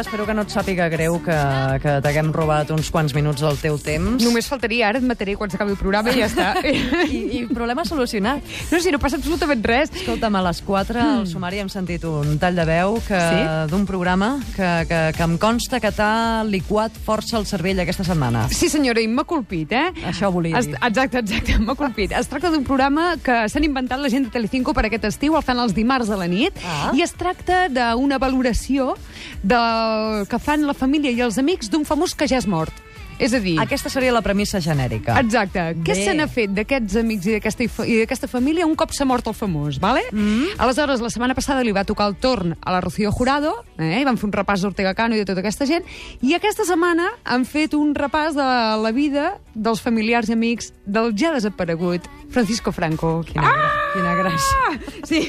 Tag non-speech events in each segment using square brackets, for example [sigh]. espero que no et sàpiga greu que, que t'haguem robat uns quants minuts del teu temps. Només faltaria, ara et mataré quan s'acabi el programa i ja està. [laughs] I, I problema solucionat. No, si no passa absolutament res. Escolta'm, a les 4 al sumari hem sentit un tall de veu que Sí? d'un programa que, que, que em consta que t'ha liquat força el cervell aquesta setmana. Sí, senyora, i m'ha colpit, eh? Això volia Es, dir. exacte, exacte, m'ha colpit. Es tracta d'un programa que s'han inventat la gent de Telecinco per aquest estiu, el fan els dimarts a la nit, Ah. i es tracta d'una valoració del que fan la família i els amics d'un famós que ja és mort. És a dir... Aquesta seria la premissa genèrica. Exacte. Què Bé. se n'ha fet d'aquests amics i d'aquesta i d'aquesta família un cop s'ha mort el famós, vale? Mm-hmm. Mm. Aleshores, la setmana passada li va tocar el torn a la Rocío Jurado, eh? i van fer un repàs d'Ortega Cano i de tota aquesta gent, i aquesta setmana han fet un repàs de la vida dels familiars i amics del ja desaparegut Francisco Franco. Quina, ah! quina gràcia. Ah! Sí,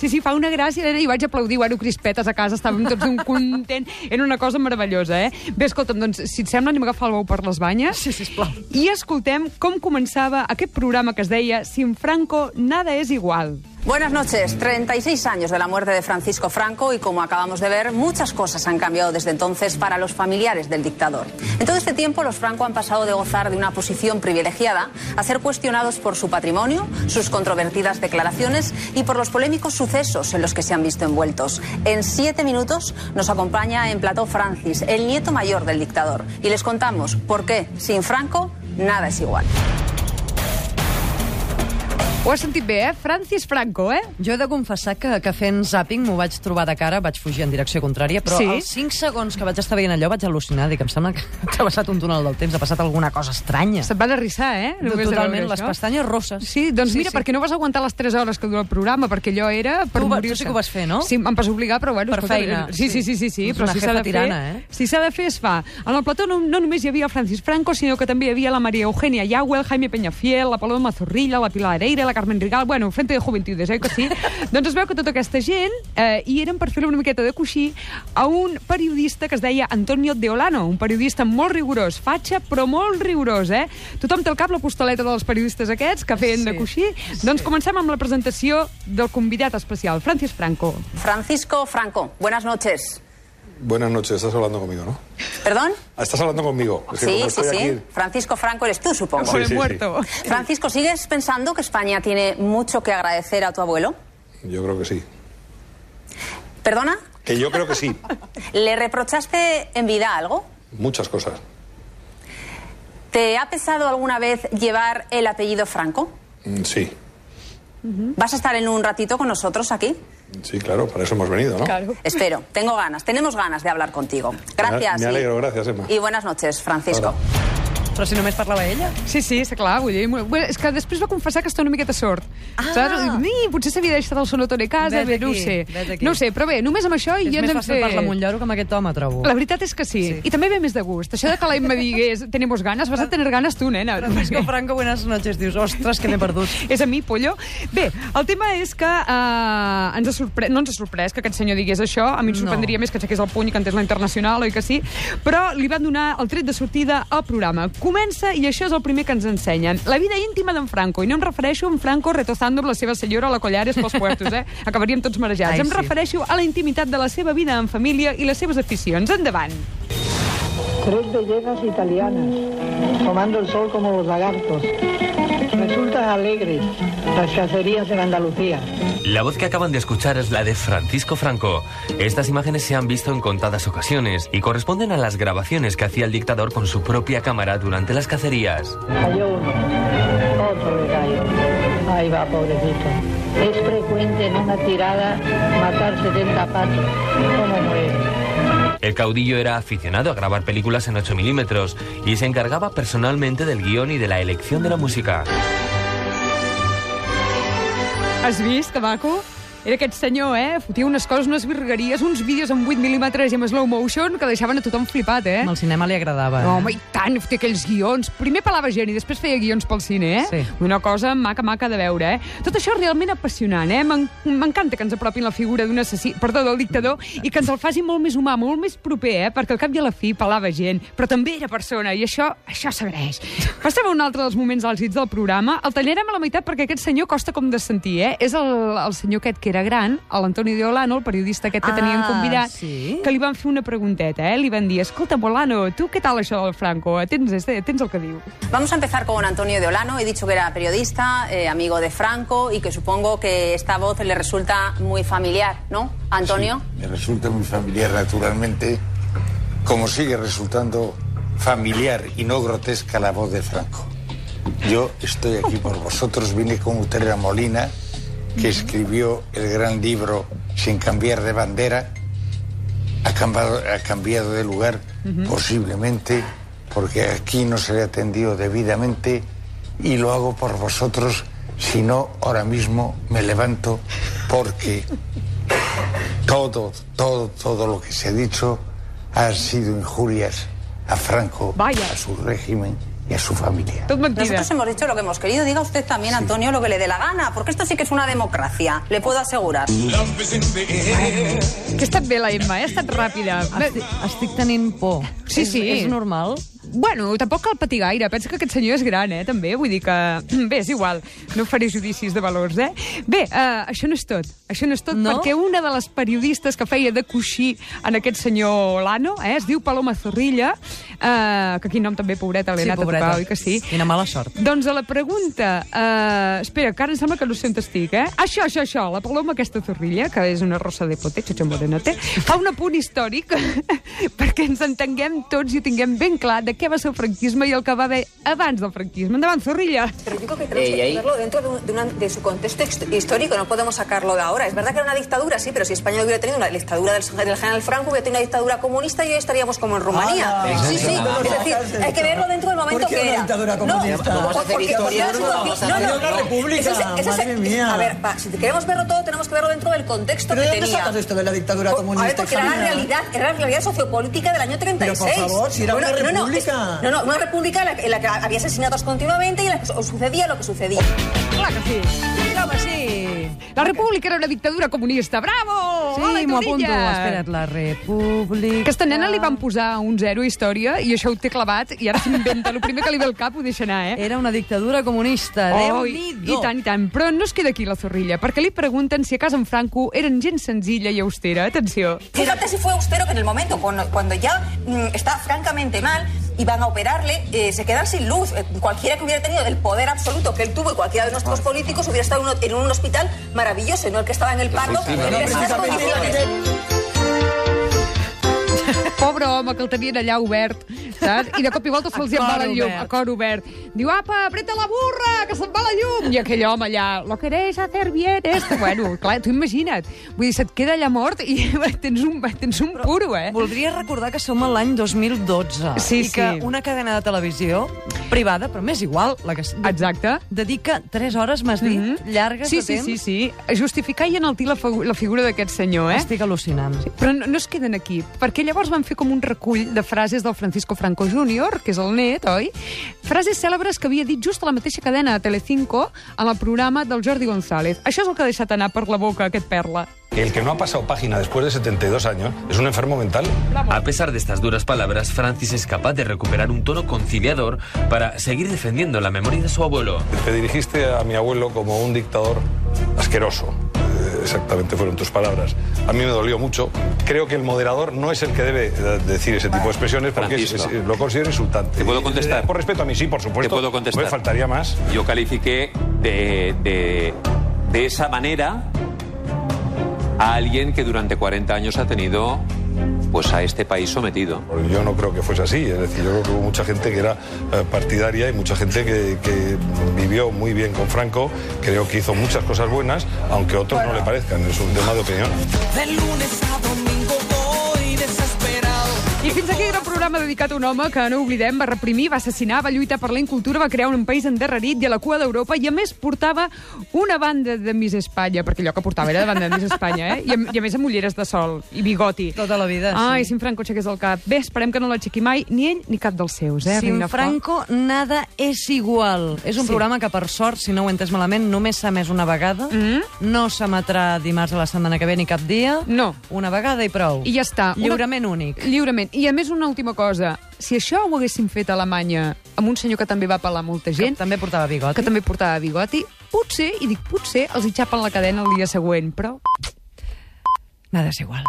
sí, sí, fa una gràcia, nena, i vaig aplaudir, bueno, crispetes a casa, estàvem tots d'un content, era una cosa meravellosa, eh? Bé, escolta'm, doncs, si et sembla, anem a agafar el bou per les banyes. Sí, sisplau. I escoltem com començava aquest programa que es deia Sin Franco nada es igual. Buenas noches. 36 años de la muerte de Francisco Franco y como acabamos de ver, muchas cosas han cambiado desde entonces para los familiares del dictador. En todo este tiempo, los Franco han pasado de gozar de una posición privilegiada a ser cuestionados por su patrimonio, sus controvertidas declaraciones y por los polémicos sucesos en los que se han visto envueltos. En siete minutos nos acompaña en plató Francis, el nieto mayor del dictador, y les contamos por qué, sin Franco, nada es igual. Ho has sentit bé, eh? Francis Franco, eh? Jo he de confessar que, que fent zàping m'ho vaig trobar de cara, vaig fugir en direcció contrària, però Sí? sí? els 5 segons que vaig estar veient allò vaig al·lucinar, dic, em sembla que [laughs] ha travessat un túnel del temps, ha passat alguna cosa estranya. Se't van arrissar, eh? De- Només de Totalment, veure les això. pestanyes rosses. Sí, doncs sí, mira, sí. perquè no vas aguantar les 3 hores que dura el programa, perquè allò era per Tu va- tu morir-se. sí que ho vas fer, no? Sí, em vas obligar, però bueno... Per escolta, feina. Sí, sí, sí, sí, sí Ets però una si s'ha de jefa tirana, fer... eh? Si s'ha de fer, es fa. En el plató no, no només hi havia el Francis Franco, sinó que també hi havia la Maria Eugenia Yagüe, el Jaime Peñafiel, la Paloma Zorrilla, la Pilar Areira, la Carmen Rigal... Bueno, Frente de Juventudes, eh, que [laughs] sí? doncs es veu que tota aquesta gent eh, hi eren per fer-li una miqueta de coixí a un periodista que es deia Antonio Deolano, un periodista molt rigorós, fatxa, però molt rigorós, eh? Tothom té al cap la postaleta dels periodistes aquests que feien de Sí, coixí. Doncs comencem amb la presentació del convidat especial, Francis Franco. Francisco Franco, buenas noches. Buenas noches, estás hablando conmigo, ¿no? Ah, ¿Perdón? Estás hablando conmigo. Es que Sí, como sí, estoy sí. aquí- Francisco Franco eres tú, supongo. Sí, sí, sí. muerto. Francisco, ¿sigues pensando que España tiene mucho que agradecer a tu abuelo? Yo creo que sí. ¿Perdona? Que yo creo que sí. ¿Le reprochaste en vida algo? Muchas cosas. ¿Te ha pesado alguna vez llevar el apellido Franco? Mm, Sí. ¿Vas a estar en un ratito con nosotros aquí? Sí, claro, para eso hemos venido, ¿no? Espero, tengo ganas, tenemos ganas de hablar contigo. Gracias. Me y- alegro, gracias, Emma. Y buenas noches, Francisco. Hola. Però si només parlava ella. Sí, sí, està clar, vull dir... molt- Bé, és que després va confessar que està una miqueta sort. Ah. Saps? Ni, potser s'havia deixat el sonotone a casa, Vet bé, no ho aquí, sé. vet aquí. No ho sé, però bé, només amb això És ja més ens hem fàcil fet... parlar amb un lloro que amb aquest home, trobo. La veritat és que sí. Sí. Ah. sí. I també ve més de gust. Això de que la Emma digués tenemos ganes, vas a tenir ganes tu, nena. Francisco Franco, buenas noches. Dius, ostres, que m'he perdut. És a mi, pollo. Bé, el tema és que eh, ens ha sorpre... no ens ha sorprès que aquest senyor digués això. A mi em No. sorprendria més que aixequés el puny i cantés la internacional, oi que sí? Però li van donar el tret de sortida al programa. Comença, i això és el primer que ens ensenyen, la vida íntima d'en Franco. I no em refereixo a en Franco retozando amb la seva senyora a la Collares pels puertos, [laughs] eh? Acabaríem tots Ai, marejats. Ai, em sí. sí. refereixo a la intimitat de la seva vida en família i les seves aficions. Endavant. Tres bellezas italianas, tomando el sol como los lagartos. Resultan alegres las cacerías en Andalucía. La voz que acaban de escuchar es la de Francisco Franco. Estas imágenes se han visto en contadas ocasiones y corresponden a las grabaciones que hacía el dictador con su propia cámara durante las cacerías. Cayó uno, otro le cayó. Ahí va, pobrecito. Es frecuente en una tirada matar 70 patos. ¿Cómo muere? El caudillo era aficionado a grabar películas en 8 milímetros y se encargaba personalmente del guión y de la elección de la música. Has vist, que maco? Era aquest senyor, eh? Fotia unes coses, unes virgueries, uns vídeos en 8 mil·límetres i amb slow motion que deixaven a tothom flipat, eh? Al cinema li agradava. No, home, i tant, té aquells guions. Primer pelava gent i després feia guions pel cine, eh? Sí. Una cosa maca, maca de veure, eh? Tot això és realment apassionant, eh? M'en- M'encanta que ens apropin la figura d'un assassí, perdó, del dictador, i que ens el facin molt més humà, molt més proper, eh? Perquè al cap i a la fi pelava gent, però també era persona, i això això s'agraeix. Passem a un altre dels moments àlgids del programa. El tallarem a la meitat perquè aquest senyor costa com de sentir, eh? És el, el senyor aquest que que era gran, a l'Antoni de Olano, el periodista aquest que Ah, tenien convidat, sí? que li van fer una pregunteta, eh? Li van dir, escolta, Olano, tu què tal això del Franco? Tens, este- tens el que diu. Vamos a empezar con Antonio de Olano. He dicho que era periodista, eh, amigo de Franco y que supongo que esta voz le resulta muy familiar, ¿no, Antonio? Sí, me resulta muy familiar, naturalmente, como sigue resultando familiar y no grotesca la voz de Franco. Yo estoy aquí por vosotros, vine con Utrera Molina, que escribió el gran libro Sin cambiar de bandera, ha cambiado, ha cambiado de lugar posiblemente porque aquí no se le ha atendido debidamente y lo hago por vosotros, si no ahora mismo me levanto porque todo, todo, todo lo que se ha dicho han sido injurias a Franco, Vaya. a su régimen y a su familia. Tot mentida. Nosotros hemos dicho lo que hemos querido. Diga usted también, Antonio, lo que le dé la gana, porque esto sí que es una democracia, le puedo asegurar. Que ha estat bé la Emma, eh? ha estat ràpida. Estic, estic tenint por. Sí, és, sí. És normal? Bueno, tampoc cal patir gaire. Pensa que aquest senyor és gran, eh, també. Vull dir que... [clears throat] Bé, és igual. No faré judicis de valors, eh? Bé, eh, això no és tot. Això no és tot No? perquè una de les periodistes que feia de coixí en aquest senyor Lano, eh, es diu Paloma Zorrilla, eh, que quin nom també, pobreta, li ha anat a tocar, oi que sí? Quina mala sort. Doncs a la pregunta... Eh, espera, que ara em sembla que no sé on estic, eh? Això, això, això, la paloma aquesta torrilla, que és una rosa de pote, xacho morenote, fa un apunt històric [laughs] perquè ens entenguem tots i ho tinguem ben clar de què va ser el franquisme i el que va haver abans del franquisme. Endavant, zorrilla! Pero yo creo que tenemos que ponerlo dentro de, un- de una- de su contexto ex- histórico, no podemos sacarlo de ahora. Es verdad que era una dictadura, sí, pero si España hubiera tenido una dictadura del, del general Franco, hubiera tenido una dictadura comunista y hoy estaríamos como en Rumanía. sí, sí, es decir, hay que verlo dentro del momento Ah, ¿Por qué que una era. dictadura comunista? No, Vamos a hacer porque- historia, porque no era vamos a su- hacer no, no, una no. república, Ese es- ese es- madre mía. A ver, pa, si queremos verlo todo, tenemos que verlo dentro del contexto ¿Pero que de dónde tenía. sacas esto de la dictadura Por- A comunista, ver, porque era la Sabina? realidad, era la realidad sociopolítica del año 36. favor, si era una no, no, república. no, no, una república en la, que- en la que había asesinatos continuamente y en la que su- sucedía lo que sucedía. Clar que sí! Home, sí. La república era una dictadura comunista! Bravo! Hola, Sí, m'ho apunto. Torrilla! Espera't, Ah. la república... Aquesta nena li van posar un zero a història i això ho té clavat i ara s'inventa. El primer que li ve al cap ho deixa anar, eh? Era una dictadura comunista. Oh, i, Déu-n'hi-do. I tant, i tant. Però no es queda aquí la zorrilla, perquè li pregunten si a casa en Franco eren gent senzilla i austera. Atenció. Fíjate si fue austero que en el momento, cuando, cuando ya mm, está francamente mal y van a operarle, eh, se quedan sin luz. Eh, cualquiera que hubiera tenido el poder absoluto que él tuvo y cualquiera de nuestros políticos hubiera estado en un- en un hospital maravilloso, y no el que estaba en el paro. en pésimas condiciones. Pobre home, que el tenien allà obert, saps? I de cop i volta se'ls A hi en va cor la llum, obert. a cor obert. Diu, apa, apreta la burra, que se'n va la llum! I aquell home allà, lo querés hacer bien esto. Bueno, clar, tu imagina't. Vull dir, se't queda allà mort i [laughs] tens un, tens un puro, eh? Voldria recordar que som a l'any 2012 Sí, i que sí. una cadena de televisió privada, però m'és igual, la que... Exacte. Dedica 3 hores, m'has dit, llargues sí, de temps. Sí, sí, sí. Justificar i enaltir la, figu- la figura d'aquest senyor, eh? Estic al·lucinant. Sí. Però no, no es queden aquí, perquè llavors van fer com un recull de frases del Francisco Franco Jr., que és el net, oi? Frases cèlebres que havia dit just a la mateixa cadena de Telecinco en el programa del Jordi González. Això és el que ha deixat anar per la boca aquest perla. El que no ha pasado página después de 72 años es un enfermo mental. A pesar de estas duras palabras, Francis es capaz de recuperar un tono conciliador para seguir defendiendo la memoria de su abuelo. Te dirigiste a mi abuelo como un dictador asqueroso. Eh, Exactamente fueron tus palabras. A mí me dolió mucho. Creo que el moderador no es el que debe eh, decir ese tipo de expresiones porque es- Francisco. es- lo considero insultante. ¿Te puedo contestar? Eh, Por respeto a mí, sí, por supuesto. Te puedo contestar. Me faltaría más. Yo califiqué de, de, de esa manera a alguien que durante 40 años ha tenido pues a este país sometido. Yo no creo que fuese así, es decir, yo creo que hubo mucha gente que era eh, partidaria y mucha gente que, que vivió muy bien con Franco, creo que hizo muchas cosas buenas, aunque a otros no le parezcan, es un tema de opinión. I fins aquí era un programa dedicat a un home que, no oblidem, va reprimir, va assassinar, va lluitar per la incultura, va crear un país endarrerit i a la cua d'Europa i, a més, portava una banda de Miss Espanya, perquè allò que portava era de banda de Miss Espanya, eh? I, a, i a més amb ulleres de sol i bigoti. Tota la vida, sí. Ai, si en Franco aixequés el cap. Bé, esperem que no l'aixequi mai, ni ell ni cap dels seus, eh? Sin Riure Franco, nada és igual. És un Sí. sí. programa que, per sort, si no ho he entès malament, només s'ha emès una vegada. Mm -hmm. No s'emetrà dimarts a la setmana que ve ni cap dia. No. Una vegada i prou. I ja està. Una- Lliurament únic. Lliurement. I a més, una última cosa. Si això ho haguessin fet a Alemanya amb un senyor que també va apel·lar molta Que gent, que, també portava bigot. que també portava bigoti, potser, i dic potser, els hi xapen la cadena el dia següent, però Nada és igual.